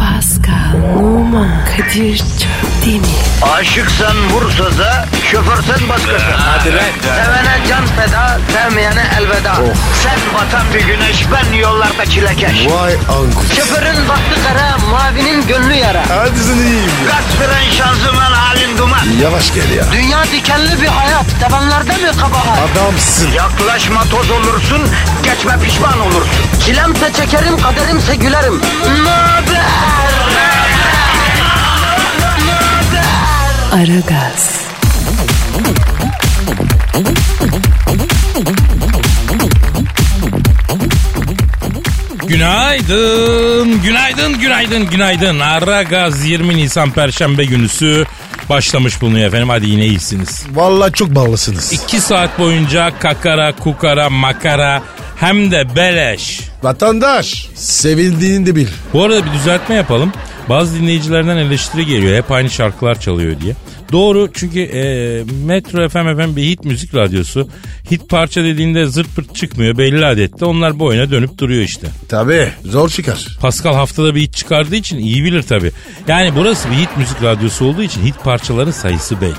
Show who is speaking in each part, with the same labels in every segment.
Speaker 1: Pascal, Oman, Kadir çok değil mi?
Speaker 2: Aşıksan vursa da şoförsen başkasın. Hadi
Speaker 3: lan.
Speaker 2: Sevene can feda, sevmeyene elveda.
Speaker 3: Oh.
Speaker 2: Sen batan bir güneş, ben yollarda çilekeş.
Speaker 3: Vay anku.
Speaker 2: Şoförün baktı kara, mavinin gönlü yara.
Speaker 3: Hadi sen iyiyim ya.
Speaker 2: Kasperen şanzıman halin duman.
Speaker 3: Yavaş gel ya.
Speaker 2: Dünya dikenli bir hayat, sevenlerde mi kabahar?
Speaker 3: Adamsın.
Speaker 2: Yaklaşma toz olursun, geçme pişman olursun. Çilemse çekerim, kaderimse gülerim. Möber!
Speaker 1: Aragaz,
Speaker 4: Günaydın, günaydın, günaydın, günaydın. Ara Gaz 20 Nisan Perşembe günüsü başlamış bulunuyor efendim. Hadi yine iyisiniz.
Speaker 3: Vallahi çok ballısınız.
Speaker 4: 2 saat boyunca kakara, kukara, makara hem de beleş.
Speaker 3: Vatandaş. Sevildiğini de bil.
Speaker 4: Bu arada bir düzeltme yapalım. Bazı dinleyicilerden eleştiri geliyor. Hep aynı şarkılar çalıyor diye. Doğru çünkü e, Metro FM FM bir hit müzik radyosu. Hit parça dediğinde zırt pırt çıkmıyor belli adette. Onlar bu oyuna dönüp duruyor işte.
Speaker 3: Tabii. Zor çıkar.
Speaker 4: Pascal haftada bir hit çıkardığı için iyi bilir tabi. Yani burası bir hit müzik radyosu olduğu için hit parçaların sayısı belli.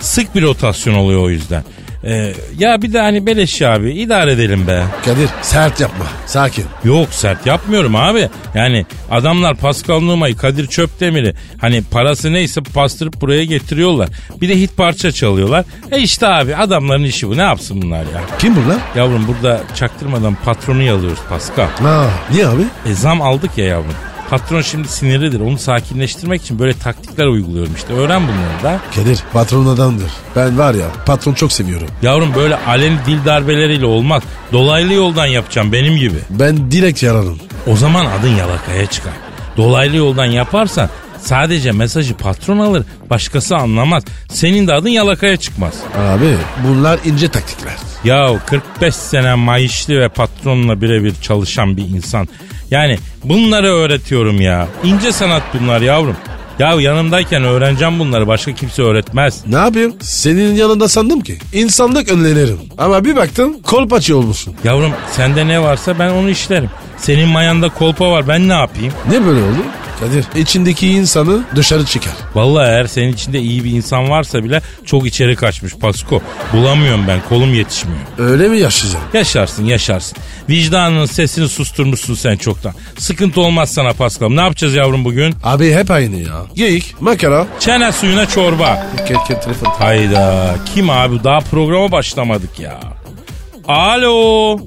Speaker 4: Sık bir rotasyon oluyor o yüzden. Ee, ya bir de hani beleş ya abi idare edelim be.
Speaker 3: Kadir sert yapma. Sakin.
Speaker 4: Yok sert yapmıyorum abi. Yani adamlar Pascal Numa'yı Kadir Çöpdemir'i hani parası neyse bastırıp buraya getiriyorlar. Bir de hit parça çalıyorlar. E işte abi adamların işi bu ne yapsın bunlar ya.
Speaker 3: Kim bu lan?
Speaker 4: Yavrum burada çaktırmadan patronu yalıyoruz Pascal.
Speaker 3: Ha, niye abi?
Speaker 4: E zam aldık ya yavrum. Patron şimdi sinirlidir. Onu sakinleştirmek için böyle taktikler uyguluyorum işte. Öğren bunları da.
Speaker 3: Kadir patron adamdır. Ben var ya patron çok seviyorum.
Speaker 4: Yavrum böyle aleni dil darbeleriyle olmaz. Dolaylı yoldan yapacağım benim gibi.
Speaker 3: Ben direkt yararım.
Speaker 4: O zaman adın yalakaya çıkar. Dolaylı yoldan yaparsan sadece mesajı patron alır. Başkası anlamaz. Senin de adın yalakaya çıkmaz.
Speaker 3: Abi bunlar ince taktikler.
Speaker 4: Ya 45 sene maaşlı ve patronla birebir çalışan bir insan. Yani bunları öğretiyorum ya. İnce sanat bunlar yavrum. Ya yanımdayken öğreneceğim bunları başka kimse öğretmez.
Speaker 3: Ne yapayım? Senin yanında sandım ki. İnsanlık önlenirim. Ama bir baktım kolpaçı olmuşsun.
Speaker 4: Yavrum sende ne varsa ben onu işlerim. Senin mayanda kolpa var ben ne yapayım?
Speaker 3: Ne böyle oldu? Kadir içindeki insanı dışarı çıkar.
Speaker 4: Vallahi eğer senin içinde iyi bir insan varsa bile çok içeri kaçmış Pasko. Bulamıyorum ben kolum yetişmiyor.
Speaker 3: Öyle mi yaşayacağım?
Speaker 4: Yaşarsın yaşarsın. Vicdanının sesini susturmuşsun sen çoktan. Sıkıntı olmaz sana Pascal. Ne yapacağız yavrum bugün?
Speaker 3: Abi hep aynı ya. Geyik, makara,
Speaker 4: Çene suyuna çorba.
Speaker 3: keke telefon.
Speaker 4: Hayda kim abi daha programa başlamadık ya. Alo.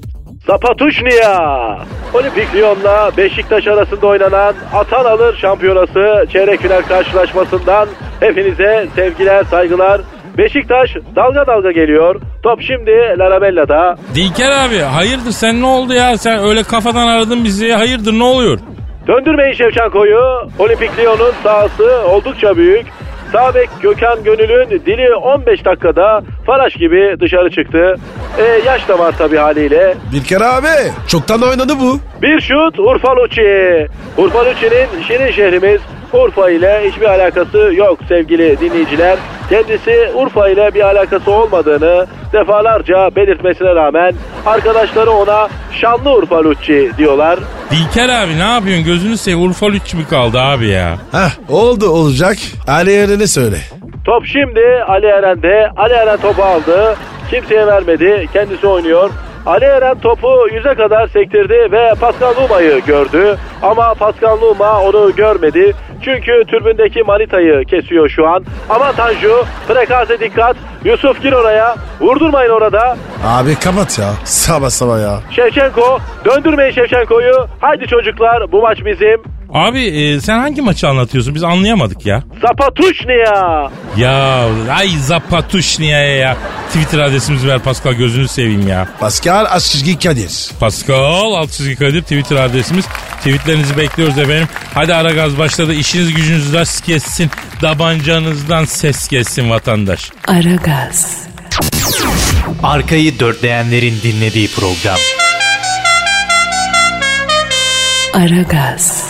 Speaker 5: Zapatuşnia. Olimpik Lyon'la Beşiktaş arasında oynanan Atan Alır Şampiyonası çeyrek final karşılaşmasından hepinize sevgiler, saygılar. Beşiktaş dalga dalga geliyor. Top şimdi Larabella'da.
Speaker 4: Dilker abi hayırdır sen ne oldu ya? Sen öyle kafadan aradın bizi. Hayırdır ne oluyor?
Speaker 5: Döndürmeyin şey. Şevçenko'yu. Olimpik Lyon'un sahası oldukça büyük. Sağ bek Gökhan Gönül'ün dili 15 dakikada Faraş gibi dışarı çıktı. E, yaş da var tabii haliyle.
Speaker 3: Bir kere abi. Çoktan oynadı bu.
Speaker 5: Bir şut Urfa Lucci. Urfa Lucci'nin şirin şehrimiz Urfa ile hiçbir alakası yok sevgili dinleyiciler. Kendisi Urfa ile bir alakası olmadığını defalarca belirtmesine rağmen arkadaşları ona şanlı Urfa Lucci diyorlar.
Speaker 4: Dilker abi ne yapıyorsun? Gözünü seveyim. Urfa Lütçü mü kaldı abi ya?
Speaker 3: Hah oldu olacak. Ali Eren'e söyle.
Speaker 5: Top şimdi Ali Eren'de. Ali Eren topu aldı. Kimseye vermedi. Kendisi oynuyor. Ali Eren topu yüze kadar sektirdi ve Pascal Numa'yı gördü. Ama Pascal Numa onu görmedi. Çünkü türbündeki manitayı kesiyor şu an. Ama Tanju frekansa dikkat. Yusuf gir oraya. Vurdurmayın orada.
Speaker 3: Abi kapat ya. Sabah sabah ya.
Speaker 5: Şevçenko döndürmeyin Şevçenko'yu. Haydi çocuklar bu maç bizim.
Speaker 4: Abi e, sen hangi maçı anlatıyorsun? Biz anlayamadık ya.
Speaker 5: Zapatuşnia.
Speaker 4: Ya ay Zapatuşnia'ya ya. Twitter adresimizi ver Pascal gözünü seveyim ya.
Speaker 3: Pascal Aşçı Kadir.
Speaker 4: Pascal alt çizgi Kadir Twitter adresimiz. Tweetlerinizi bekliyoruz efendim. Hadi ara gaz başladı. İşiniz gücünüz rast kessin. Dabancanızdan ses kessin vatandaş.
Speaker 1: Aragaz,
Speaker 6: Arkayı dörtleyenlerin dinlediği program.
Speaker 1: Aragaz,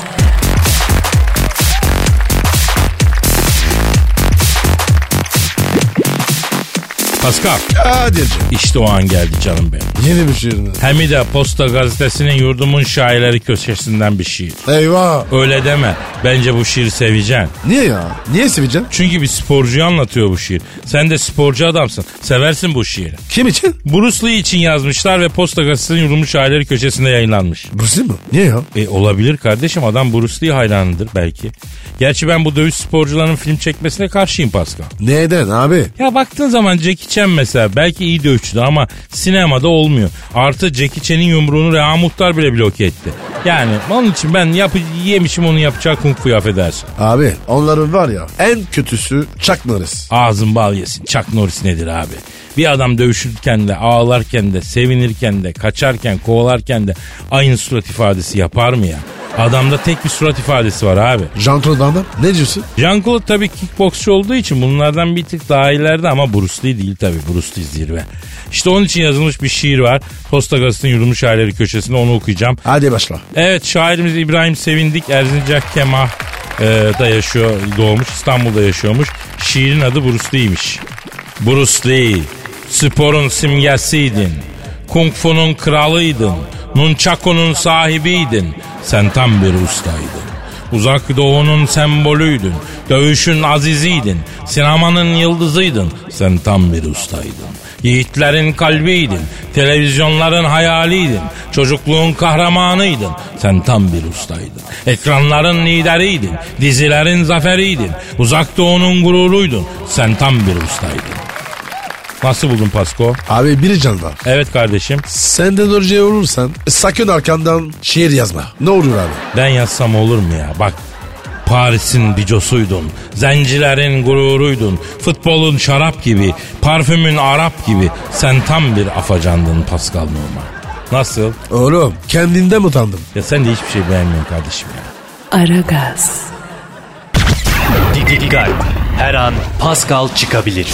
Speaker 4: Pascal
Speaker 3: Kadir.
Speaker 4: işte o an geldi canım benim.
Speaker 3: Yeni bir şiirini.
Speaker 4: Hemide Posta Gazetesi'nin yurdumun şairleri köşesinden bir şiir.
Speaker 3: Eyvah.
Speaker 4: Öyle deme. Bence bu şiiri seveceksin.
Speaker 3: Niye ya? Niye seveceksin?
Speaker 4: Çünkü bir sporcuyu anlatıyor bu şiir. Sen de sporcu adamsın. Seversin bu şiiri.
Speaker 3: Kim için?
Speaker 4: Bruce Lee için yazmışlar ve Posta Gazetesi'nin yurulmuş aileleri köşesinde yayınlanmış.
Speaker 3: Burası mı? Niye ya?
Speaker 4: E olabilir kardeşim adam Bruce Lee hayranıdır belki. Gerçi ben bu dövüş sporcularının film çekmesine karşıyım Pascal.
Speaker 3: Neden abi?
Speaker 4: Ya baktığın zaman Jackie Chan mesela belki iyi dövüşçüdü ama sinemada olmuyor. Artı Jackie Chan'in yumruğunu Reha Muhtar bile bloke etti. Yani onun için ben yapı yemişim onu yapacağı kung fu affedersin.
Speaker 3: Abi onların var ya en kötüsü Chuck Norris.
Speaker 4: Ağzın bal yesin. Chuck Norris nedir abi? Bir adam dövüşürken de, ağlarken de, sevinirken de, kaçarken, kovalarken de aynı surat ifadesi yapar mı ya? Adamda tek bir surat ifadesi var abi.
Speaker 3: Jean Claude Van Damme ne diyorsun?
Speaker 4: Jean-Claude tabii kickboksçu olduğu için bunlardan bir tık daha ileride ama Bruce Lee değil tabii. Bruce Lee zirve. İşte onun için yazılmış bir şiir var. Posta Gazetesi'nin yurulmuş aileleri köşesinde onu okuyacağım.
Speaker 3: Hadi başla.
Speaker 4: Evet şairimiz İbrahim Sevindik Erzincak Kemah e, da yaşıyor, doğmuş İstanbul'da yaşıyormuş. Şiirin adı Bruce Lee'ymiş. Bruce Lee, sporun simgesiydin. Kung Fu'nun kralıydın. Nunchaku'nun sahibiydin. Sen tam bir ustaydın. Uzak doğunun sembolüydün. Dövüşün aziziydin. Sinemanın yıldızıydın. Sen tam bir ustaydın. Yiğitlerin kalbiydin. Televizyonların hayaliydin. Çocukluğun kahramanıydın. Sen tam bir ustaydın. Ekranların lideriydin. Dizilerin zaferiydin. Uzak doğunun gururuydun. Sen tam bir ustaydın. Nasıl buldun Pasko?
Speaker 3: Abi biri can var.
Speaker 4: Evet kardeşim.
Speaker 3: Senden önce olursan sakın arkandan şiir yazma. Ne olur abi?
Speaker 4: Ben yazsam olur mu ya? Bak Paris'in bicosuydun, zencilerin gururuydun, futbolun şarap gibi, parfümün Arap gibi. Sen tam bir afacandın Pascal Numa. Nasıl?
Speaker 3: Oğlum kendinden utandım.
Speaker 4: Ya sen de hiçbir şey beğenmiyorsun kardeşim ya.
Speaker 1: Aragaz,
Speaker 6: Didi Dikkat. Her an Pascal çıkabilir.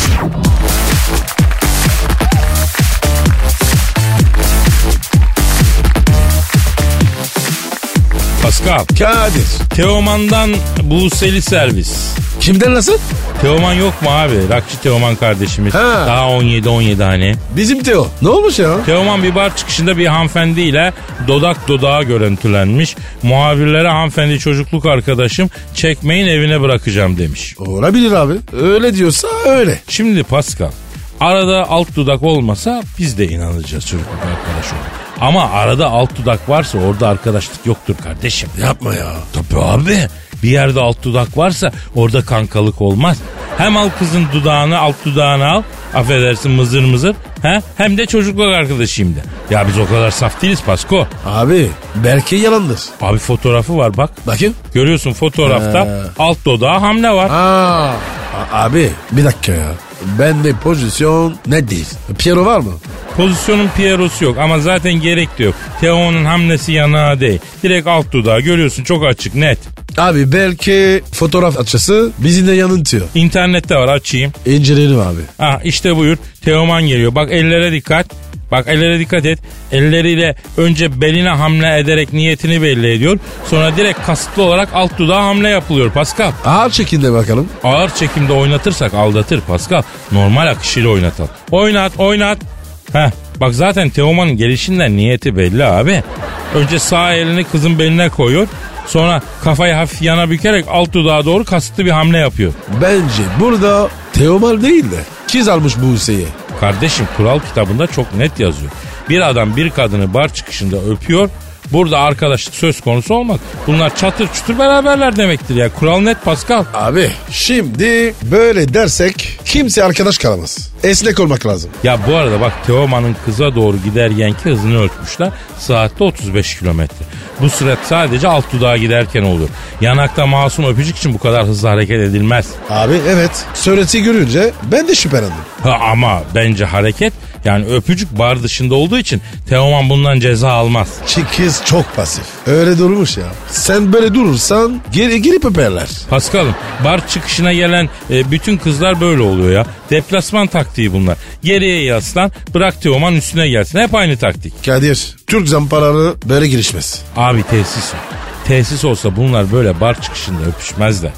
Speaker 4: Pascal,
Speaker 3: Kadir.
Speaker 4: Teoman'dan Buse'li servis.
Speaker 3: Kimden nasıl?
Speaker 4: Teoman yok mu abi? Rakçı Teoman kardeşimiz.
Speaker 3: He.
Speaker 4: Daha 17-17 hani.
Speaker 3: Bizim Teo. Ne olmuş ya?
Speaker 4: Teoman bir bar çıkışında bir hanımefendiyle dodak dodağa görüntülenmiş. Muhabirlere hanımefendi çocukluk arkadaşım çekmeyin evine bırakacağım demiş.
Speaker 3: Olabilir abi. Öyle diyorsa öyle.
Speaker 4: Şimdi Pascal arada alt dudak olmasa biz de inanacağız çocukluk arkadaş olarak. Ama arada alt dudak varsa orada arkadaşlık yoktur kardeşim.
Speaker 3: Yapma ya.
Speaker 4: Tabii abi. Bir yerde alt dudak varsa orada kankalık olmaz. Hem al kızın dudağını alt dudağını al. Affedersin mızır mızır. He? Hem de çocukluk arkadaşıyım de. Ya biz o kadar saf değiliz Pasko.
Speaker 3: Abi belki yalandır.
Speaker 4: Abi fotoğrafı var bak.
Speaker 3: Bakın.
Speaker 4: Görüyorsun fotoğrafta alt dudağa hamle var.
Speaker 3: Aa. a- abi bir dakika ya. Ben de pozisyon ne değil. Piero var mı?
Speaker 4: Pozisyonun Piero'su yok ama zaten gerek de yok. Teo'nun hamlesi yanağı değil. Direkt alt dudağı görüyorsun çok açık net.
Speaker 3: Abi belki fotoğraf açısı bizimle yanıntıyor.
Speaker 4: İnternette var açayım.
Speaker 3: İnceleyelim abi.
Speaker 4: Ah işte buyur Teoman geliyor. Bak ellere dikkat. Bak ellere dikkat et. Elleriyle önce beline hamle ederek niyetini belli ediyor. Sonra direkt kasıtlı olarak alt dudağa hamle yapılıyor Pascal.
Speaker 3: Ağır çekinde bakalım.
Speaker 4: Ağır çekimde oynatırsak aldatır Pascal. Normal akışıyla oynatalım. Oynat oynat. Heh, bak zaten Teoman'ın gelişinden niyeti belli abi. Önce sağ elini kızın beline koyuyor. Sonra kafayı hafif yana bükerek alt dudağa doğru kasıtlı bir hamle yapıyor.
Speaker 3: Bence burada Teoman değil de kız almış bu Hüseyin'i.
Speaker 4: Kardeşim kural kitabında çok net yazıyor. Bir adam bir kadını bar çıkışında öpüyor. Burada arkadaşlık söz konusu olmak. Bunlar çatır çutur beraberler demektir ya. Kural net Pascal.
Speaker 3: Abi şimdi Hani böyle dersek kimse arkadaş kalamaz. Esnek olmak lazım.
Speaker 4: Ya bu arada bak Teoman'ın kıza doğru giderkenki hızını ölçmüşler. Saatte 35 kilometre. Bu sürat sadece alt dudağa giderken olur. Yanakta masum öpücük için bu kadar hızlı hareket edilmez.
Speaker 3: Abi evet. Sureti görünce ben de şüphelendim.
Speaker 4: Ha, ama bence hareket yani öpücük bar dışında olduğu için Teoman bundan ceza almaz.
Speaker 3: Çi- Kız çok pasif. Öyle durmuş ya. Sen böyle durursan geri girip öperler.
Speaker 4: Paskal'ım bar çıkışına gelen e, bütün kızlar böyle oluyor ya. Deplasman taktiği bunlar. Geriye yaslan bırak Teoman üstüne gelsin. Hep aynı taktik.
Speaker 3: Kadir, Türk zamparalı böyle girişmez.
Speaker 4: Abi tesis yok. Tesis olsa bunlar böyle bar çıkışında öpüşmezler.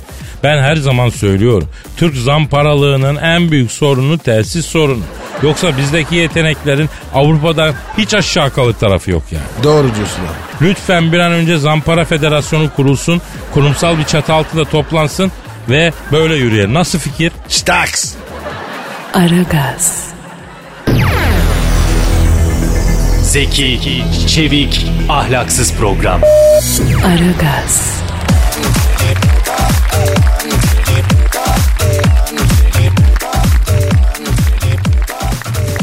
Speaker 4: Ben her zaman söylüyorum. Türk zamparalığının en büyük sorunu tesis sorunu. Yoksa bizdeki yeteneklerin Avrupa'da hiç aşağı kalır tarafı yok yani.
Speaker 3: Doğru diyorsun abi.
Speaker 4: Lütfen bir an önce Zampara Federasyonu kurulsun. Kurumsal bir çatı altında toplansın ve böyle yürüyelim. Nasıl fikir?
Speaker 3: Staks.
Speaker 1: Aragaz,
Speaker 6: Zeki, çevik, ahlaksız program.
Speaker 1: Aragaz,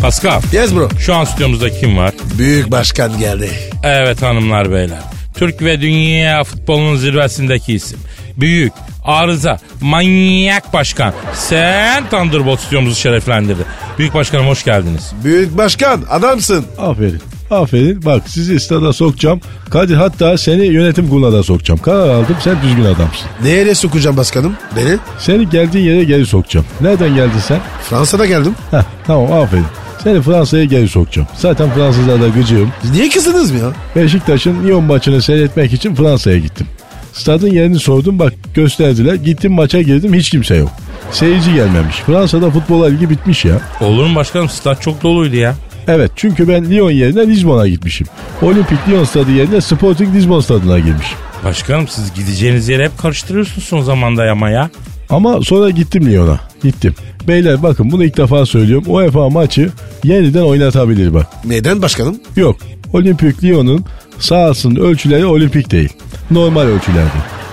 Speaker 4: Pascal.
Speaker 3: Yes bro.
Speaker 4: Şu an stüdyomuzda kim var?
Speaker 3: Büyük başkan geldi.
Speaker 4: Evet hanımlar beyler. Türk ve dünya futbolunun zirvesindeki isim. Büyük, arıza, manyak başkan. Sen Thunderbolt stüdyomuzu şereflendirdi. Büyük başkanım hoş geldiniz.
Speaker 3: Büyük başkan adamsın.
Speaker 7: Aferin. Aferin. Bak sizi stada sokacağım. Kadir hatta seni yönetim kuruluna da sokacağım. Karar aldım. Sen düzgün adamsın.
Speaker 3: Nereye sokacağım başkanım? Beni?
Speaker 7: Seni geldiğin yere geri sokacağım. Nereden geldin sen?
Speaker 3: Fransa'da geldim.
Speaker 7: Heh, tamam aferin. Seni Fransa'ya geri sokacağım. Zaten Fransızlarda gıcığım.
Speaker 3: Niye kızdınız mı ya?
Speaker 7: Beşiktaş'ın Lyon maçını seyretmek için Fransa'ya gittim. Stadın yerini sordum bak gösterdiler. Gittim maça girdim hiç kimse yok. Seyirci gelmemiş. Fransa'da futbola ilgi bitmiş ya.
Speaker 4: Olur mu başkanım? Stat çok doluydu ya.
Speaker 7: Evet çünkü ben Lyon yerine Lisbon'a gitmişim. Olimpik Lyon stadı yerine Sporting Lisbon stadına girmişim.
Speaker 4: Başkanım siz gideceğiniz yere hep karıştırıyorsunuz son zamanda ama ya.
Speaker 7: Ama sonra gittim Lyon'a. Gittim. Beyler bakın bunu ilk defa söylüyorum. UEFA maçı yeniden oynatabilir bak.
Speaker 3: Neden başkanım?
Speaker 7: Yok. Olimpik Lyon'un sahasının ölçüleri olimpik değil. Normal ölçülerde.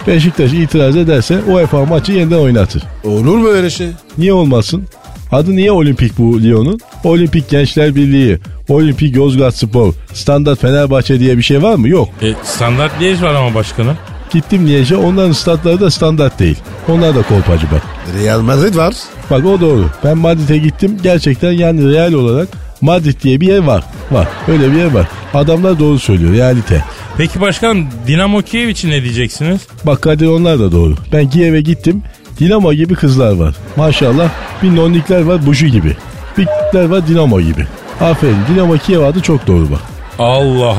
Speaker 7: Beşiktaş itiraz ederse UEFA maçı yeniden oynatır.
Speaker 3: Olur mu öyle şey?
Speaker 7: Niye olmasın? Adı niye olimpik bu Lyon'un? Olimpik Gençler Birliği, Olimpik Yozgat Spor, Standart Fenerbahçe diye bir şey var mı? Yok.
Speaker 4: E, standart Liège var ama başkanım.
Speaker 7: Gittim Liège onların statları da standart değil. Onlar da kolpacı bak.
Speaker 3: Real Madrid var.
Speaker 7: Bak o doğru. Ben Madrid'e gittim. Gerçekten yani real olarak Madrid diye bir yer var. Var. Öyle bir yer var. Adamlar doğru söylüyor. Realite.
Speaker 4: Peki başkanım Dinamo Kiev için ne diyeceksiniz?
Speaker 7: Bak Kadir onlar da doğru. Ben Kiev'e gittim. Dinamo gibi kızlar var. Maşallah bir nonnikler var Buju gibi. Bir k***ler var Dinamo gibi. Aferin Dinamo Kiev adı çok doğru bak.
Speaker 4: Allah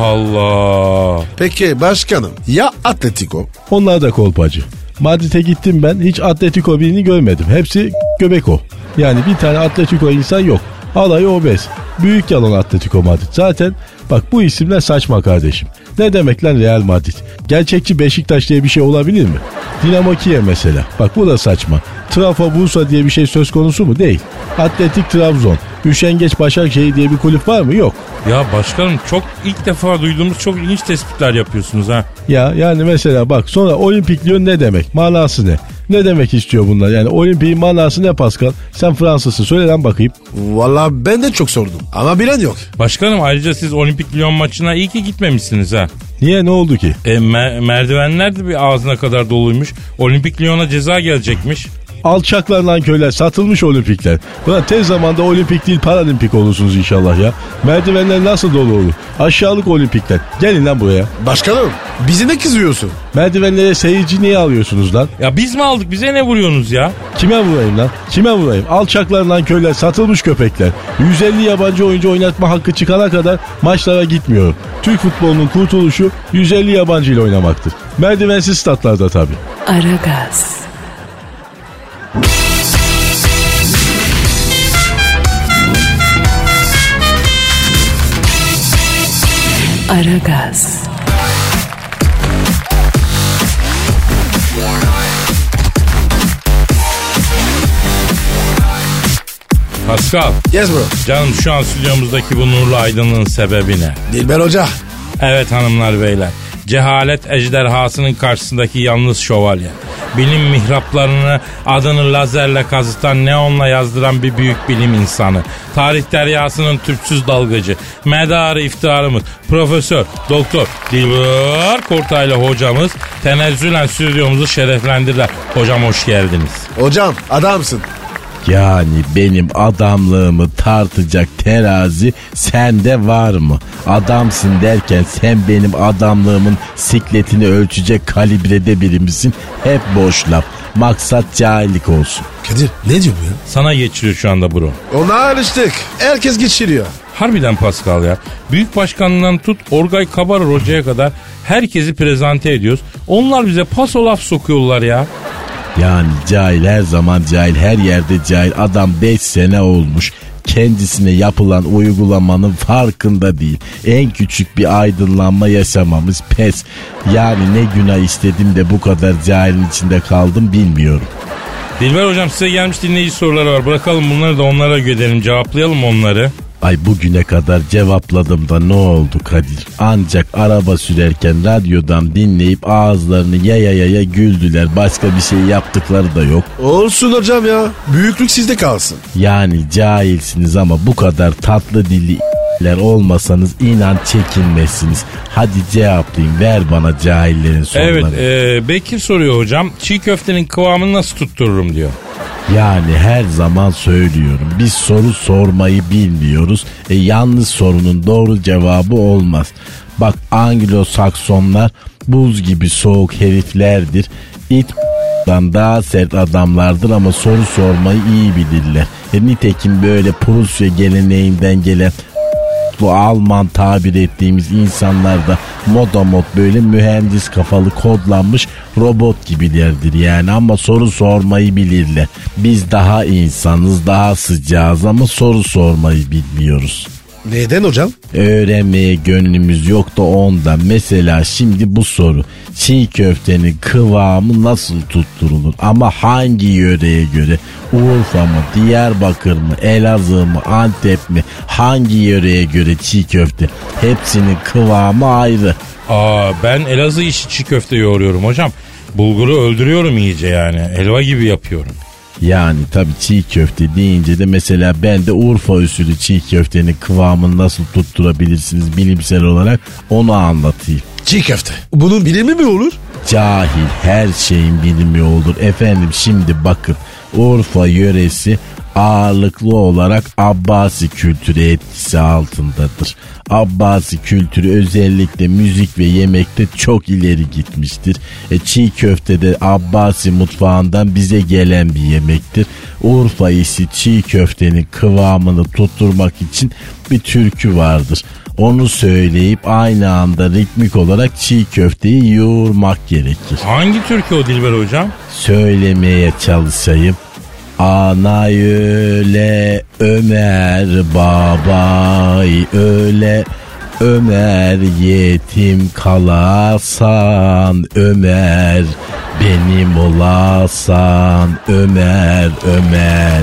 Speaker 4: Allah.
Speaker 3: Peki başkanım ya Atletico?
Speaker 7: Onlar da kolpacı. Madrid'e gittim ben hiç Atletico birini görmedim. Hepsi Göbeko. Yani bir tane Atletico insan yok. Alayı obez. Büyük yalan Atletico Madrid. Zaten bak bu isimler saçma kardeşim. Ne demek lan Real Madrid? Gerçekçi Beşiktaş diye bir şey olabilir mi? Dinamo Kiev mesela. Bak bu da saçma. Trafo Bursa diye bir şey söz konusu mu? Değil. Atletik Trabzon. Üşengeç Başakşehir diye bir kulüp var mı? Yok.
Speaker 4: Ya başkanım çok ilk defa duyduğumuz çok ilginç tespitler yapıyorsunuz ha.
Speaker 7: Ya yani mesela bak sonra olimpik Lyon ne demek? Manası ne? Ne demek istiyor bunlar? Yani olimpiğin manası ne Pascal? Sen Fransızsın söyle lan bakayım.
Speaker 3: Valla ben de çok sordum ama bilen yok.
Speaker 4: Başkanım ayrıca siz Olimpik Lyon maçına iyi ki gitmemişsiniz ha.
Speaker 7: Niye ne oldu ki?
Speaker 4: E, me- merdivenler de bir ağzına kadar doluymuş. Olimpik Lyon'a ceza gelecekmiş.
Speaker 7: Alçaklar lan köyler satılmış olimpikler. Ulan tez zamanda olimpik değil paralimpik olursunuz inşallah ya. Merdivenler nasıl dolu olur? Aşağılık olimpikler. Gelin lan buraya.
Speaker 3: Başkanım bizi ne kızıyorsun?
Speaker 7: Merdivenlere seyirci niye alıyorsunuz lan?
Speaker 4: Ya biz mi aldık bize ne vuruyorsunuz ya?
Speaker 7: Kime vurayım lan? Kime vurayım? Alçaklar lan köyler, satılmış köpekler. 150 yabancı oyuncu oynatma hakkı çıkana kadar maçlara gitmiyorum. Türk futbolunun kurtuluşu 150 yabancı ile oynamaktır. Merdivensiz statlarda tabii.
Speaker 1: Aragaz, Aragaz,
Speaker 4: Pascal
Speaker 3: Yes bro.
Speaker 4: canım şu an stüdyomuzdaki bu nurlu aydınlığın sebebi ne?
Speaker 3: Dilber Hoca.
Speaker 4: Evet hanımlar beyler. Cehalet ejderhasının karşısındaki yalnız şövalye. Bilim mihraplarını adını lazerle kazıtan, neonla yazdıran bir büyük bilim insanı. Tarih deryasının tüpsüz dalgacı. Medarı iftiharımız. Profesör, doktor Dilber Kortaylı hocamız tenezzülen stüdyomuzu şereflendirdiler. Hocam hoş geldiniz.
Speaker 3: Hocam adamsın.
Speaker 8: Yani benim adamlığımı tartacak terazi sende var mı? Adamsın derken sen benim adamlığımın sikletini ölçecek kalibrede biri misin? Hep boş laf. Maksat cahillik olsun.
Speaker 3: Kadir ne diyor bu ya?
Speaker 4: Sana geçiriyor şu anda bro.
Speaker 3: Ona alıştık. Herkes geçiriyor.
Speaker 4: Harbiden Pascal ya. Büyük başkanından tut Orgay Kabar Hoca'ya kadar herkesi prezante ediyoruz. Onlar bize paso laf sokuyorlar ya.
Speaker 8: Yani cahil her zaman cahil her yerde cahil. Adam 5 sene olmuş. kendisine yapılan uygulamanın farkında değil. En küçük bir aydınlanma yaşamamız pes. Yani ne günah istedim de bu kadar cahilin içinde kaldım bilmiyorum.
Speaker 4: Dilber hocam size gelmiş dinleyici soruları var. Bırakalım bunları da onlara gödelim. Cevaplayalım onları.
Speaker 8: Ay bugüne kadar cevapladım da ne oldu Kadir? Ancak araba sürerken radyodan dinleyip ağızlarını yaya yaya güldüler. Başka bir şey yaptıkları da yok.
Speaker 3: Olsun hocam ya. Büyüklük sizde kalsın.
Speaker 8: Yani cahilsiniz ama bu kadar tatlı dilli ler olmasanız inan çekinmezsiniz. Hadi cevaplayın ver bana cahillerin
Speaker 4: Evet
Speaker 8: sorularını.
Speaker 4: e, Bekir soruyor hocam. Çiğ köftenin kıvamını nasıl tuttururum diyor.
Speaker 8: Yani her zaman söylüyorum biz soru sormayı bilmiyoruz. E, yalnız sorunun doğru cevabı olmaz. Bak Anglo-Saksonlar buz gibi soğuk heriflerdir. İt dan daha sert adamlardır ama soru sormayı iyi bilirler. E, nitekim böyle Prusya geleneğinden gelen bu Alman tabir ettiğimiz insanlar da moda mod böyle mühendis kafalı kodlanmış robot gibilerdir yani ama soru sormayı bilirler. Biz daha insanız daha sıcağız ama soru sormayı bilmiyoruz.
Speaker 3: Neden hocam?
Speaker 8: Öğrenmeye gönlümüz yok da ondan. Mesela şimdi bu soru. Çiğ köftenin kıvamı nasıl tutturulur? Ama hangi yöreye göre? Urfa mı, Diyarbakır mı, Elazığ mı, Antep mi? Hangi yöreye göre çiğ köfte? Hepsinin kıvamı ayrı.
Speaker 4: Aa ben Elazığ işi çiğ köfte yoğuruyorum hocam. Bulguru öldürüyorum iyice yani. Elva gibi yapıyorum.
Speaker 8: Yani tabii çiğ köfte deyince de mesela ben de Urfa usulü çiğ köftenin kıvamını nasıl tutturabilirsiniz bilimsel olarak onu anlatayım.
Speaker 3: Çiğ köfte. Bunun bilimi mi olur?
Speaker 8: Cahil her şeyin bilimi olur. Efendim şimdi bakın Urfa yöresi ağırlıklı olarak Abbasi kültürü etkisi altındadır. Abbasi kültürü özellikle müzik ve yemekte çok ileri gitmiştir. E, çiğ köfte de Abbasi mutfağından bize gelen bir yemektir. Urfa işi çiğ köftenin kıvamını tutturmak için bir türkü vardır. Onu söyleyip aynı anda ritmik olarak çiğ köfteyi yoğurmak gerekir.
Speaker 4: Hangi türkü o Dilber hocam?
Speaker 8: Söylemeye çalışayım. Anay öyle Ömer babay öyle Ömer yetim kalasan Ömer benim olasan Ömer Ömer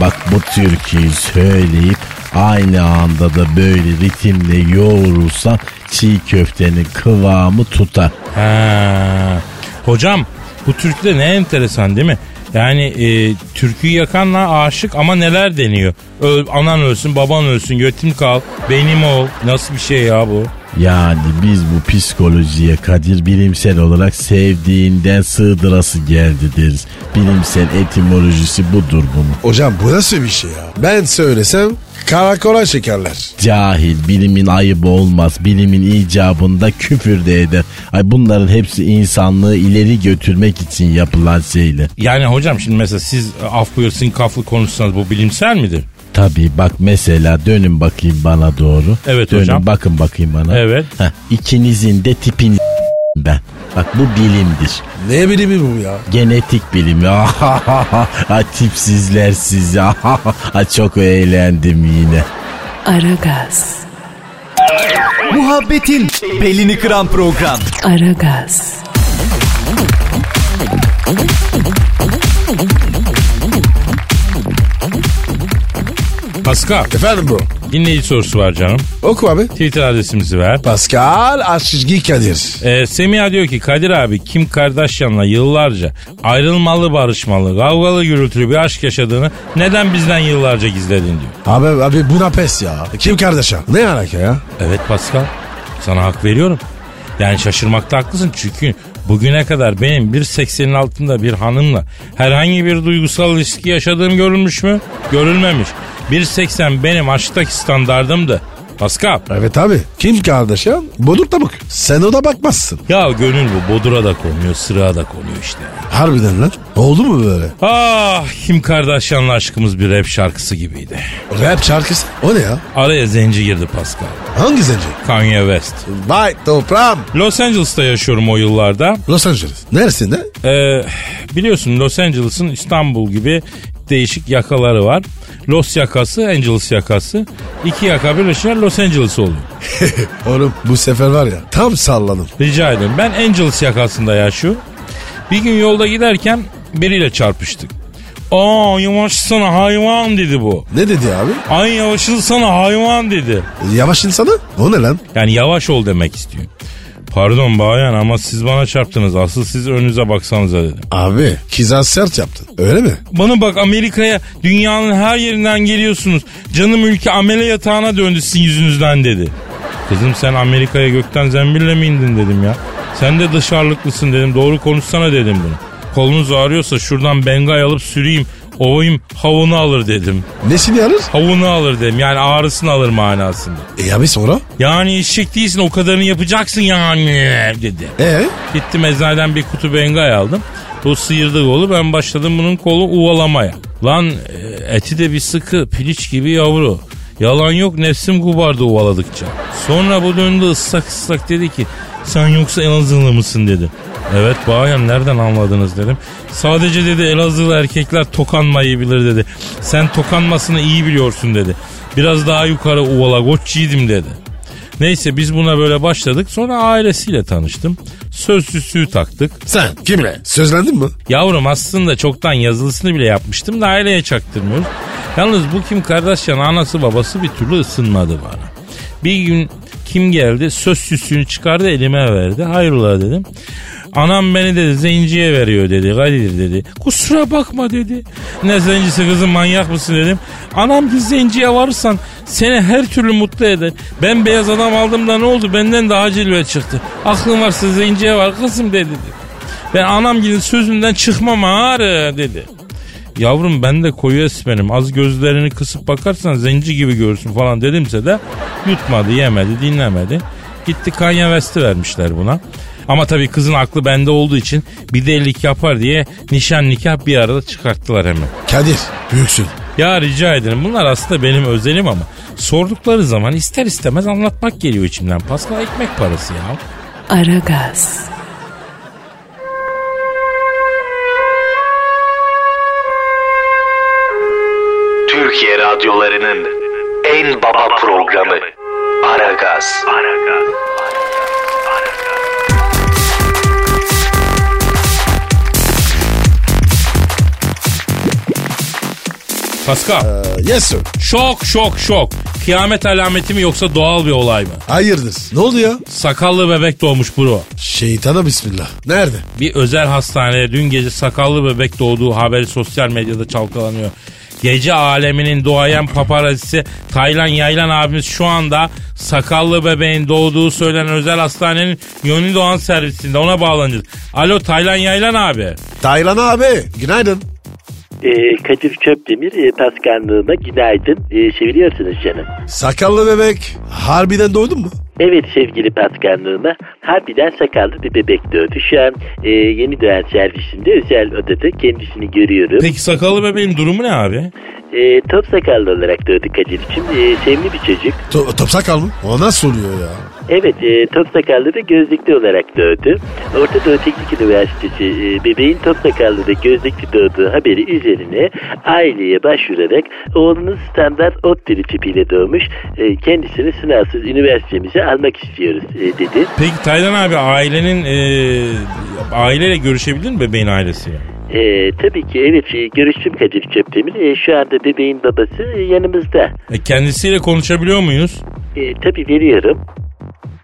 Speaker 8: Bak bu türküyü söyleyip aynı anda da böyle ritimle yoğurursan çiğ köftenin kıvamı tutar.
Speaker 4: Ha. Hocam bu türküde ne enteresan değil mi? Yani e, türküyü yakanla aşık ama neler deniyor? Öl, anan ölsün, baban ölsün, götüm kal, benim ol. Nasıl bir şey ya bu?
Speaker 8: Yani biz bu psikolojiye Kadir bilimsel olarak sevdiğinden sığdırası geldi deriz. Bilimsel etimolojisi budur bunun.
Speaker 3: Hocam bu nasıl bir şey ya? Ben söylesem karakola şekerler.
Speaker 8: Cahil, bilimin ayıbı olmaz, bilimin icabında küfür de eder. Ay bunların hepsi insanlığı ileri götürmek için yapılan şeyler.
Speaker 4: Yani hocam şimdi mesela siz e, af buyursun kaflı konuşsanız bu bilimsel midir?
Speaker 8: Tabii bak mesela dönün bakayım bana doğru.
Speaker 4: Evet
Speaker 8: dönün,
Speaker 4: hocam.
Speaker 8: bakın bakayım bana.
Speaker 4: Evet.
Speaker 8: Heh, ikinizin de tipin ben. Bak bu bilimdir.
Speaker 3: Ne bilimi bu ya?
Speaker 8: Genetik bilimi. Ay, Tipsizler sizi. Ay, Çok eğlendim yine.
Speaker 1: Aragaz,
Speaker 6: Muhabbetin belini kıran program.
Speaker 1: Aragaz,
Speaker 4: Pascal,
Speaker 3: Efendim bro.
Speaker 4: dinleyici sorusu var canım.
Speaker 3: Oku abi.
Speaker 4: Twitter adresimizi ver.
Speaker 3: Pascal Aşçı Kadir.
Speaker 4: Ee, Semiha diyor ki Kadir abi Kim Kardashian'la yıllarca ayrılmalı barışmalı kavgalı gürültülü bir aşk yaşadığını neden bizden yıllarca gizledin diyor.
Speaker 3: Abi abi bu napes ya. Kim kardeşim? Ne alaka ya?
Speaker 4: Evet Pascal sana hak veriyorum. Yani şaşırmakta haklısın çünkü bugüne kadar benim 1.80'in altında bir hanımla herhangi bir duygusal ilişki yaşadığım görülmüş mü? Görülmemiş. 1.80 benim aşktaki standardımdı. Pascal.
Speaker 3: Evet abi. Kim kardeşim? Bodur tabuk. Sen ona bakmazsın.
Speaker 4: Ya gönül bu bodura da konuyor sırığa da konuyor işte.
Speaker 3: Harbiden lan. Oldu mu böyle?
Speaker 4: Ah Kim Kardashian'la aşkımız bir rap şarkısı gibiydi.
Speaker 3: Rap şarkısı. O ne ya?
Speaker 4: Araya zenci girdi Pascal.
Speaker 3: Hangi zenci?
Speaker 4: Kanye West.
Speaker 3: Vay toprağım.
Speaker 4: Los Angeles'ta yaşıyorum o yıllarda.
Speaker 3: Los Angeles. Neresinde?
Speaker 4: Ee, biliyorsun Los Angeles'ın İstanbul gibi dört değişik yakaları var. Los yakası, Angeles yakası. İki yaka birleşince Los Angeles oluyor.
Speaker 3: Oğlum bu sefer var ya tam salladım.
Speaker 4: Rica ederim. Ben Angeles yakasında ya şu. Bir gün yolda giderken biriyle çarpıştık. Aa yavaşsana hayvan dedi bu.
Speaker 3: Ne dedi abi? E,
Speaker 4: Ay yavaşılsana hayvan dedi.
Speaker 3: Yavaş insana. O ne lan?
Speaker 4: Yani yavaş ol demek istiyor. Pardon bayan ama siz bana çarptınız. Asıl siz önünüze baksanıza dedim.
Speaker 3: Abi kiza sert yaptın. Öyle mi?
Speaker 4: Bana bak Amerika'ya dünyanın her yerinden geliyorsunuz. Canım ülke amele yatağına döndü sizin yüzünüzden dedi. Kızım sen Amerika'ya gökten zembille mi indin dedim ya. Sen de dışarılıklısın dedim. Doğru konuşsana dedim bunu. Kolunuz ağrıyorsa şuradan bengay alıp süreyim. Ovayım havunu alır dedim.
Speaker 3: Nesini alır?
Speaker 4: Havunu alır dedim. Yani ağrısını alır manasında.
Speaker 3: E abi sonra?
Speaker 4: Yani eşek değilsin o kadarını yapacaksın yani dedi.
Speaker 3: E
Speaker 4: Gittim eczaneden bir kutu bengay aldım. Bu sıyırdı kolu ben başladım bunun kolu uvalamaya. Lan e, eti de bir sıkı piliç gibi yavru. Yalan yok nefsim kubardı uvaladıkça. Sonra bu döndü ıslak ıslak dedi ki sen yoksa Elazığlı mısın dedi. Evet bayan nereden anladınız dedim. Sadece dedi Elazığlı erkekler tokanmayı bilir dedi. Sen tokanmasını iyi biliyorsun dedi. Biraz daha yukarı uvala goççiydim dedi. Neyse biz buna böyle başladık. Sonra ailesiyle tanıştım. Sözlüsü taktık.
Speaker 3: sen kimle? Sözlendin mi?
Speaker 4: Yavrum aslında çoktan yazılısını bile yapmıştım da aileye çaktırmıyoruz. Yalnız bu Kim Kardashian anası babası bir türlü ısınmadı bana. Bir gün kim geldi söz süsünü çıkardı elime verdi. Hayrola dedim. Anam beni dedi zenciye veriyor dedi Kadir dedi. Kusura bakma dedi. Ne zencisi kızım manyak mısın dedim. Anam ki zenciye varırsan seni her türlü mutlu eder. Ben beyaz adam aldım da ne oldu benden daha cilve çıktı. Aklın varsa zenciye var kızım dedi. Ben anamgilin sözünden çıkmam ağrı dedi. Yavrum ben de koyu esmerim az gözlerini kısıp bakarsan zenci gibi görürsün falan dedimse de yutmadı yemedi dinlemedi. Gitti Kanye West'i vermişler buna. Ama tabii kızın aklı bende olduğu için bir delilik yapar diye nişan nikah bir arada çıkarttılar hemen.
Speaker 3: Kadir büyüksün.
Speaker 4: Ya rica ederim bunlar aslında benim özelim ama sordukları zaman ister istemez anlatmak geliyor içimden. Pascal ekmek parası ya.
Speaker 1: Aragaz,
Speaker 2: Türkiye radyolarının en baba programı Aragaz.
Speaker 4: Pascal.
Speaker 3: Ee, yes sir.
Speaker 4: Şok şok şok. Kıyamet alameti mi yoksa doğal bir olay mı?
Speaker 3: Hayırdır? Ne oldu ya?
Speaker 4: Sakallı bebek doğmuş bro.
Speaker 3: Şeytana bismillah. Nerede?
Speaker 4: Bir özel hastanede dün gece sakallı bebek doğduğu haberi sosyal medyada çalkalanıyor. Gece aleminin doğayan paparazisi Taylan Yaylan abimiz şu anda sakallı bebeğin doğduğu söylenen özel hastanenin Yoni Doğan servisinde ona bağlanacağız. Alo Taylan Yaylan abi.
Speaker 3: Taylan abi. Günaydın.
Speaker 9: Ee, Kadir Çöpdemir e, paskanlığına günaydın. Ee, çeviriyorsunuz canım.
Speaker 3: Sakallı bebek. Harbiden doğdun mu?
Speaker 9: Evet sevgili paskanlığına harbiden sakallı bir bebek doğdu. Şu an e, yeni doğan servisinde özel odada kendisini görüyorum.
Speaker 4: Peki sakallı bebeğin durumu ne abi?
Speaker 9: E, top sakallı olarak doğdu Kadir'cim. E, sevimli bir çocuk.
Speaker 3: To- top sakal mı? O nasıl oluyor ya?
Speaker 9: Evet e, top sakallı da gözlüklü olarak doğdu. Orta Doğu Teknik Üniversitesi e, bebeğin top sakallı da gözlüklü doğduğu haberi üzerine aileye başvurarak oğlunun standart ODTÜ'lü tipiyle doğmuş. E, kendisini sınavsız üniversitemize almak istiyoruz e, dedi.
Speaker 4: Peki Taylan abi ailenin e, aileyle görüşebildin mi bebeğin ailesiyle?
Speaker 9: E, tabii ki evet e, görüştüm Kadir Çöptemir. E, şu anda bebeğin babası e, yanımızda.
Speaker 4: E, kendisiyle konuşabiliyor muyuz?
Speaker 9: E, tabii veriyorum.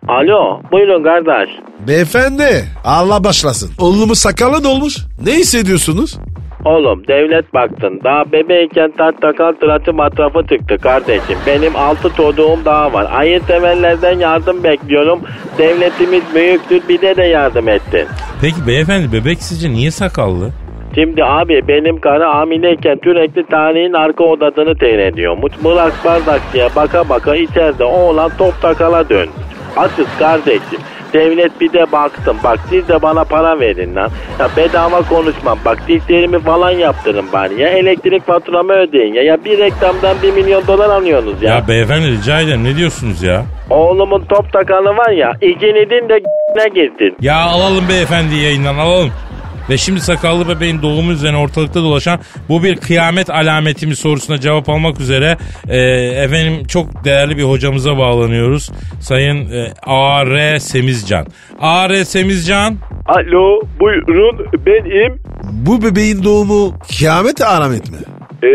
Speaker 9: Alo buyurun kardeş.
Speaker 3: Beyefendi. Allah başlasın. Oğlumu sakalla dolmuş. Ne hissediyorsunuz?
Speaker 9: Oğlum devlet baktın daha bebeğken tak takal tıraşı matrafı çıktı kardeşim. Benim altı çocuğum daha var. Ayı temellerden yardım bekliyorum. Devletimiz büyüktür bize de yardım ettin.
Speaker 4: Peki beyefendi bebek sizce niye sakallı?
Speaker 9: Şimdi abi benim karı hamileyken sürekli tarihin arka odasını seyrediyormuş. Mırak bardakçıya baka baka içeride oğlan top takala dönmüş. Açız kardeşim. Devlet bir de baktım. Bak siz de bana para verin lan. Ya bedava konuşmam. Bak dişlerimi falan yaptırın bari. Ya elektrik faturamı ödeyin ya. Ya bir reklamdan bir milyon dolar alıyorsunuz ya.
Speaker 4: Ya beyefendi rica ederim ne diyorsunuz ya?
Speaker 9: Oğlumun top takalı var ya. İkinizin de ne girdin.
Speaker 4: Ya alalım beyefendi yayından alalım. Ve şimdi sakallı bebeğin doğumu üzerine ortalıkta dolaşan bu bir kıyamet alameti mi sorusuna cevap almak üzere e, efendim çok değerli bir hocamıza bağlanıyoruz. Sayın e, A.R. Semizcan. A.R. Semizcan.
Speaker 10: Alo buyurun benim.
Speaker 3: Bu bebeğin doğumu kıyamet alamet mi?
Speaker 10: Ee,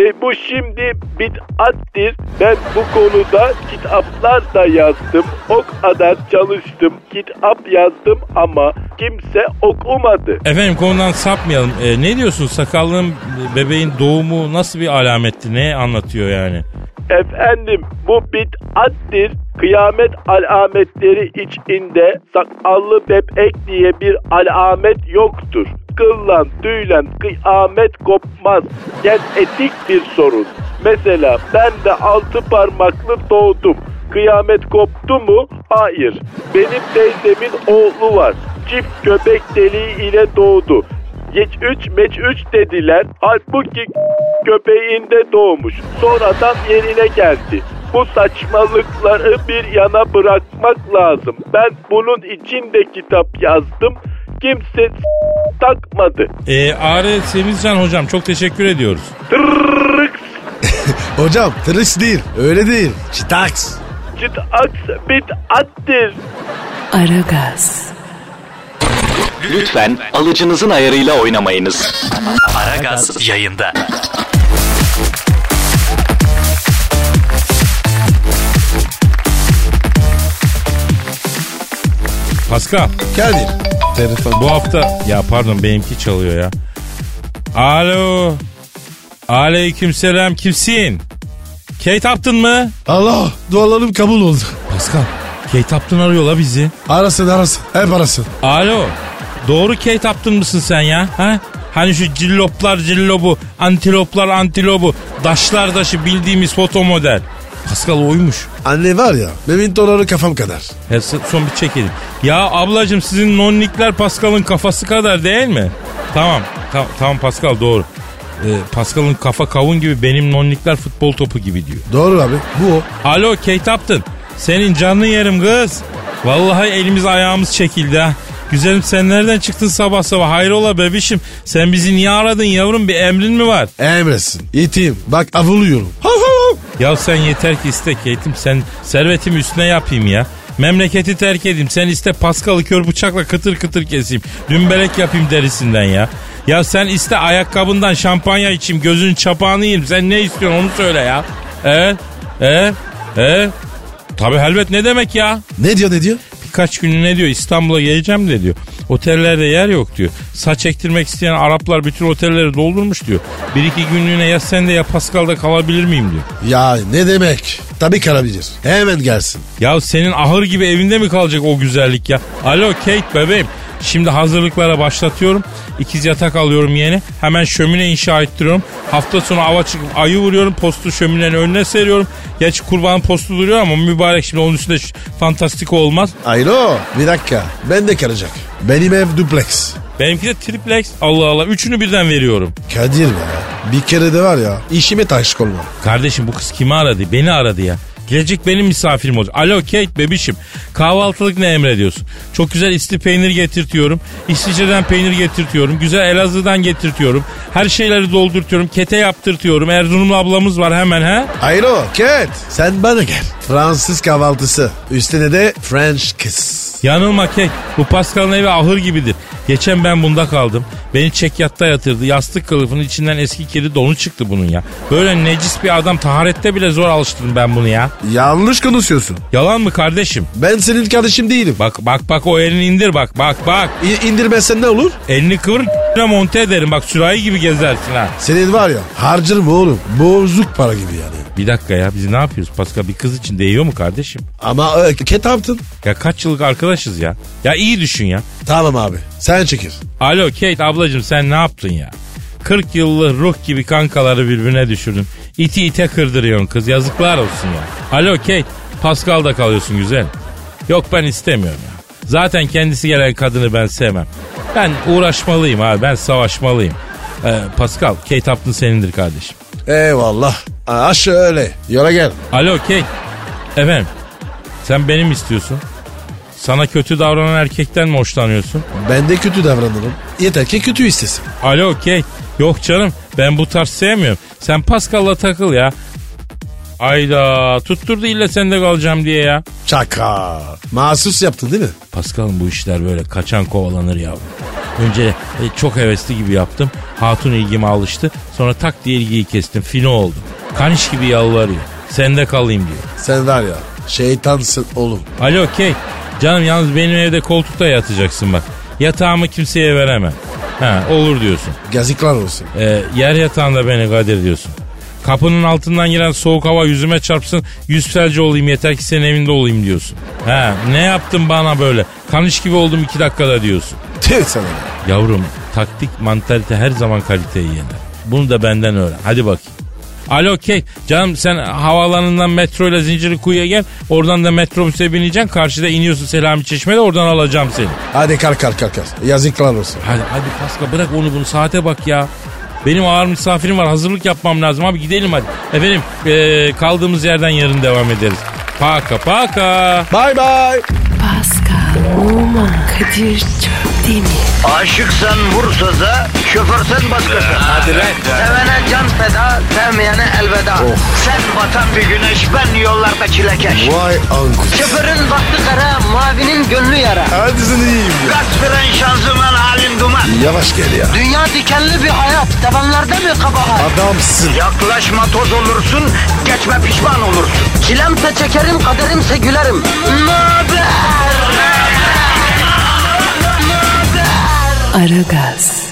Speaker 10: e, bu şimdi bid'attir. Ben bu konuda kitaplar da yazdım. O kadar çalıştım. Kitap yazdım ama kimse okumadı.
Speaker 4: Efendim konudan sapmayalım. E, ne diyorsun sakallığın bebeğin doğumu nasıl bir alametti? Ne anlatıyor yani?
Speaker 10: Efendim bu bid'attir. Kıyamet alametleri içinde sakallı bebek diye bir alamet yoktur. Kıllan tüylen kıyamet kopmaz. Genetik bir sorun. Mesela ben de altı parmaklı doğdum. Kıyamet koptu mu? Hayır. Benim teyzemin oğlu var. Çift göbek deliği ile doğdu. Geç 3 meç 3 dediler. Halbuki göbeğinde doğmuş. Sonradan yerine geldi. Bu saçmalıkları bir yana bırakmak lazım. Ben bunun için de kitap yazdım. Kimse takmadı.
Speaker 4: E, A.R. Semizcan hocam çok teşekkür ediyoruz.
Speaker 10: Tırrrrrıks.
Speaker 3: Hocam tırış değil. Öyle değil. Çitaks.
Speaker 10: Çıt aks bit attir.
Speaker 1: Aragaz,
Speaker 6: Lütfen alıcınızın ayarıyla oynamayınız.
Speaker 11: Aragaz yayında.
Speaker 4: Pascal
Speaker 3: Kadir. Telefon.
Speaker 4: bu hafta... Ya pardon benimki çalıyor ya. Alo. Aleyküm selam kimsin? Kate Upton mı?
Speaker 3: Allah dualarım kabul oldu.
Speaker 4: Pascal. Kate Upton arıyor la bizi.
Speaker 3: Arasın arasın. Hep arasın.
Speaker 4: Alo. Doğru Kate Upton mısın sen ya? Ha? Hani şu cilloplar cillobu, antiloplar antilobu, daşlar daşı bildiğimiz foto model. Pascal oymuş.
Speaker 3: Anne var ya. Memintoları kafam kadar.
Speaker 4: Ya s- son bir çekelim. Ya ablacım sizin nonnikler Pascal'ın kafası kadar değil mi? Tamam. ta- tamam Pascal doğru. Ee, Pascal'ın kafa kavun gibi benim nonnikler futbol topu gibi diyor.
Speaker 3: Doğru abi. Bu o.
Speaker 4: Alo Kate Upton. Senin canını yerim kız. Vallahi elimiz ayağımız çekildi ha. Güzelim sen nereden çıktın sabah sabah? Hayrola bebişim? Sen bizi niye aradın yavrum? Bir emrin mi var?
Speaker 3: Emresin. Yeteyim. Bak avuluyorum. Hav hav.
Speaker 4: Ya sen yeter ki iste Kate'im. Sen servetimi üstüne yapayım ya. Memleketi terk edeyim. Sen iste Paskal'ı kör bıçakla kıtır kıtır keseyim. Dümbelek yapayım derisinden ya. Ya sen iste ayakkabından şampanya içeyim. Gözünün çapağını yiyeyim. Sen ne istiyorsun onu söyle ya. Evet. Evet. Evet. Tabii helvet ne demek ya?
Speaker 3: Ne diyor ne diyor?
Speaker 4: Birkaç günlüğüne diyor İstanbul'a geleceğim de diyor. Otellerde yer yok diyor. Saç ektirmek isteyen Araplar bütün otelleri doldurmuş diyor. Bir iki günlüğüne ya sen de ya Pascal'da kalabilir miyim diyor.
Speaker 3: Ya ne demek? Tabii kalabilir. Hemen gelsin.
Speaker 4: Ya senin ahır gibi evinde mi kalacak o güzellik ya? Alo Kate bebeğim. Şimdi hazırlıklara başlatıyorum. İkiz yatak alıyorum yeni. Hemen şömine inşa ettiriyorum. Hafta sonu ava çıkıp ayı vuruyorum. Postu şöminenin önüne seriyorum. Gerçi kurbanın postu duruyor ama mübarek şimdi onun üstünde ş- fantastik olmaz.
Speaker 3: Alo. Bir dakika. Ben de kalacak. Benim ev duplex.
Speaker 4: Benimki de triplex. Allah Allah. Üçünü birden veriyorum.
Speaker 3: Kadir be. Bir kere de var ya. işime taş olma.
Speaker 4: Kardeşim bu kız kimi aradı? Beni aradı ya. Gelecek benim misafirim olacak. Alo Kate bebişim. Kahvaltılık ne emrediyorsun? Çok güzel isti peynir getirtiyorum. İsviçre'den peynir getirtiyorum. Güzel Elazığ'dan getirtiyorum. Her şeyleri doldurtuyorum. Kete yaptırtıyorum. Erzurumlu ablamız var hemen ha.
Speaker 3: Alo. Ket. Sen bana gel. Fransız kahvaltısı. Üstüne de French kiss.
Speaker 4: Yanılma Kate. Bu Pascal'ın evi ahır gibidir. Geçen ben bunda kaldım. Beni çekyatta yatırdı. Yastık kılıfının içinden eski kedi donu çıktı bunun ya. Böyle necis bir adam taharette bile zor alıştırdım ben bunu ya.
Speaker 3: Yanlış konuşuyorsun.
Speaker 4: Yalan mı kardeşim?
Speaker 3: Ben senin kardeşim değilim.
Speaker 4: Bak bak bak o elini indir bak bak bak.
Speaker 3: İ- indirmezsen ne olur?
Speaker 4: Elini kıvır ***'e monte ederim bak sürahi gibi gezersin ha.
Speaker 3: Senin var ya harcarım oğlum. Bozuk para gibi yani.
Speaker 4: Bir dakika ya biz ne yapıyoruz Pascal bir kız için değiyor mu kardeşim?
Speaker 3: Ama e, ket yaptın.
Speaker 4: Ya kaç yıllık arkadaşız ya. Ya iyi düşün ya.
Speaker 3: Tamam abi. Sen çekil.
Speaker 4: Alo Kate ablacığım sen ne yaptın ya? 40 yıllık ruh gibi kankaları birbirine düşürdün. İti ite kırdırıyorsun kız yazıklar olsun ya. Alo Kate Pascal'da kalıyorsun güzel. Yok ben istemiyorum ya. Zaten kendisi gelen kadını ben sevmem. Ben uğraşmalıyım abi ben savaşmalıyım. Ee, Pascal Kate Upton senindir kardeşim.
Speaker 3: Eyvallah. Aa, şöyle. Yola gel.
Speaker 4: Alo Kate. Efendim. Sen benim istiyorsun. Sana kötü davranan erkekten mi hoşlanıyorsun?
Speaker 3: Ben de kötü davranırım. Yeter ki kötü istesin.
Speaker 4: Alo kek. Yok canım ben bu tarz sevmiyorum. Sen Pascal'la takıl ya. Ayda tutturdu illa sende kalacağım diye ya.
Speaker 3: Şaka. Mahsus yaptın değil mi?
Speaker 4: Pascal'ın bu işler böyle kaçan kovalanır yavrum. Önce e, çok hevesli gibi yaptım. Hatun ilgime alıştı. Sonra tak diye ilgiyi kestim. Fino oldum. Kaniş gibi yalvarıyor. Sende kalayım diyor.
Speaker 3: Sen var ya şeytansın oğlum.
Speaker 4: Alo kek. Canım yalnız benim evde koltukta yatacaksın bak. Yatağımı kimseye veremem. Ha, olur diyorsun.
Speaker 3: Gazikler olsun.
Speaker 4: Ee, yer yatağında beni Kadir diyorsun. Kapının altından giren soğuk hava yüzüme çarpsın yüz felci olayım yeter ki senin evinde olayım diyorsun. He ne yaptın bana böyle kanış gibi oldum iki dakikada diyorsun.
Speaker 3: Tüh sana. ya.
Speaker 4: Yavrum taktik mantalite her zaman kaliteyi yener. Bunu da benden öğren hadi bakayım. Alo kek canım sen havaalanından metro ile zincirli kuyuya gel. Oradan da metrobüse bineceksin. Karşıda iniyorsun Selami Çeşme'de oradan alacağım seni.
Speaker 3: Hadi kalk kalk kalk. kalk. Yazıklar olsun.
Speaker 4: Hadi hadi Paska bırak onu bunu saate bak ya. Benim ağır misafirim var hazırlık yapmam lazım abi gidelim hadi. Efendim eee, kaldığımız yerden yarın devam ederiz. Paka paka.
Speaker 3: Bye bye.
Speaker 1: Pascal, Oman, Kadir çok değil mi?
Speaker 2: Aşıksan vursa da, şoförsen başkasın. Hadi Sevene can feda, sevmeyene elveda.
Speaker 3: Oh.
Speaker 2: Sen batan bir güneş, ben yollarda çilekeş.
Speaker 3: Vay anku.
Speaker 2: Şoförün baktı kara, mavinin gönlü yara.
Speaker 3: Hadi sen iyiyim ya.
Speaker 2: Kasperen şanzıman halin duman.
Speaker 3: Yavaş gel ya.
Speaker 2: Dünya dikenli bir hayat, sevenlerde mi kabahar?
Speaker 3: Adamsın.
Speaker 2: Yaklaşma toz olursun, geçme pişman olursun. Çilemse çekerim, kaderimse gülerim. Möber!
Speaker 1: Aragaz.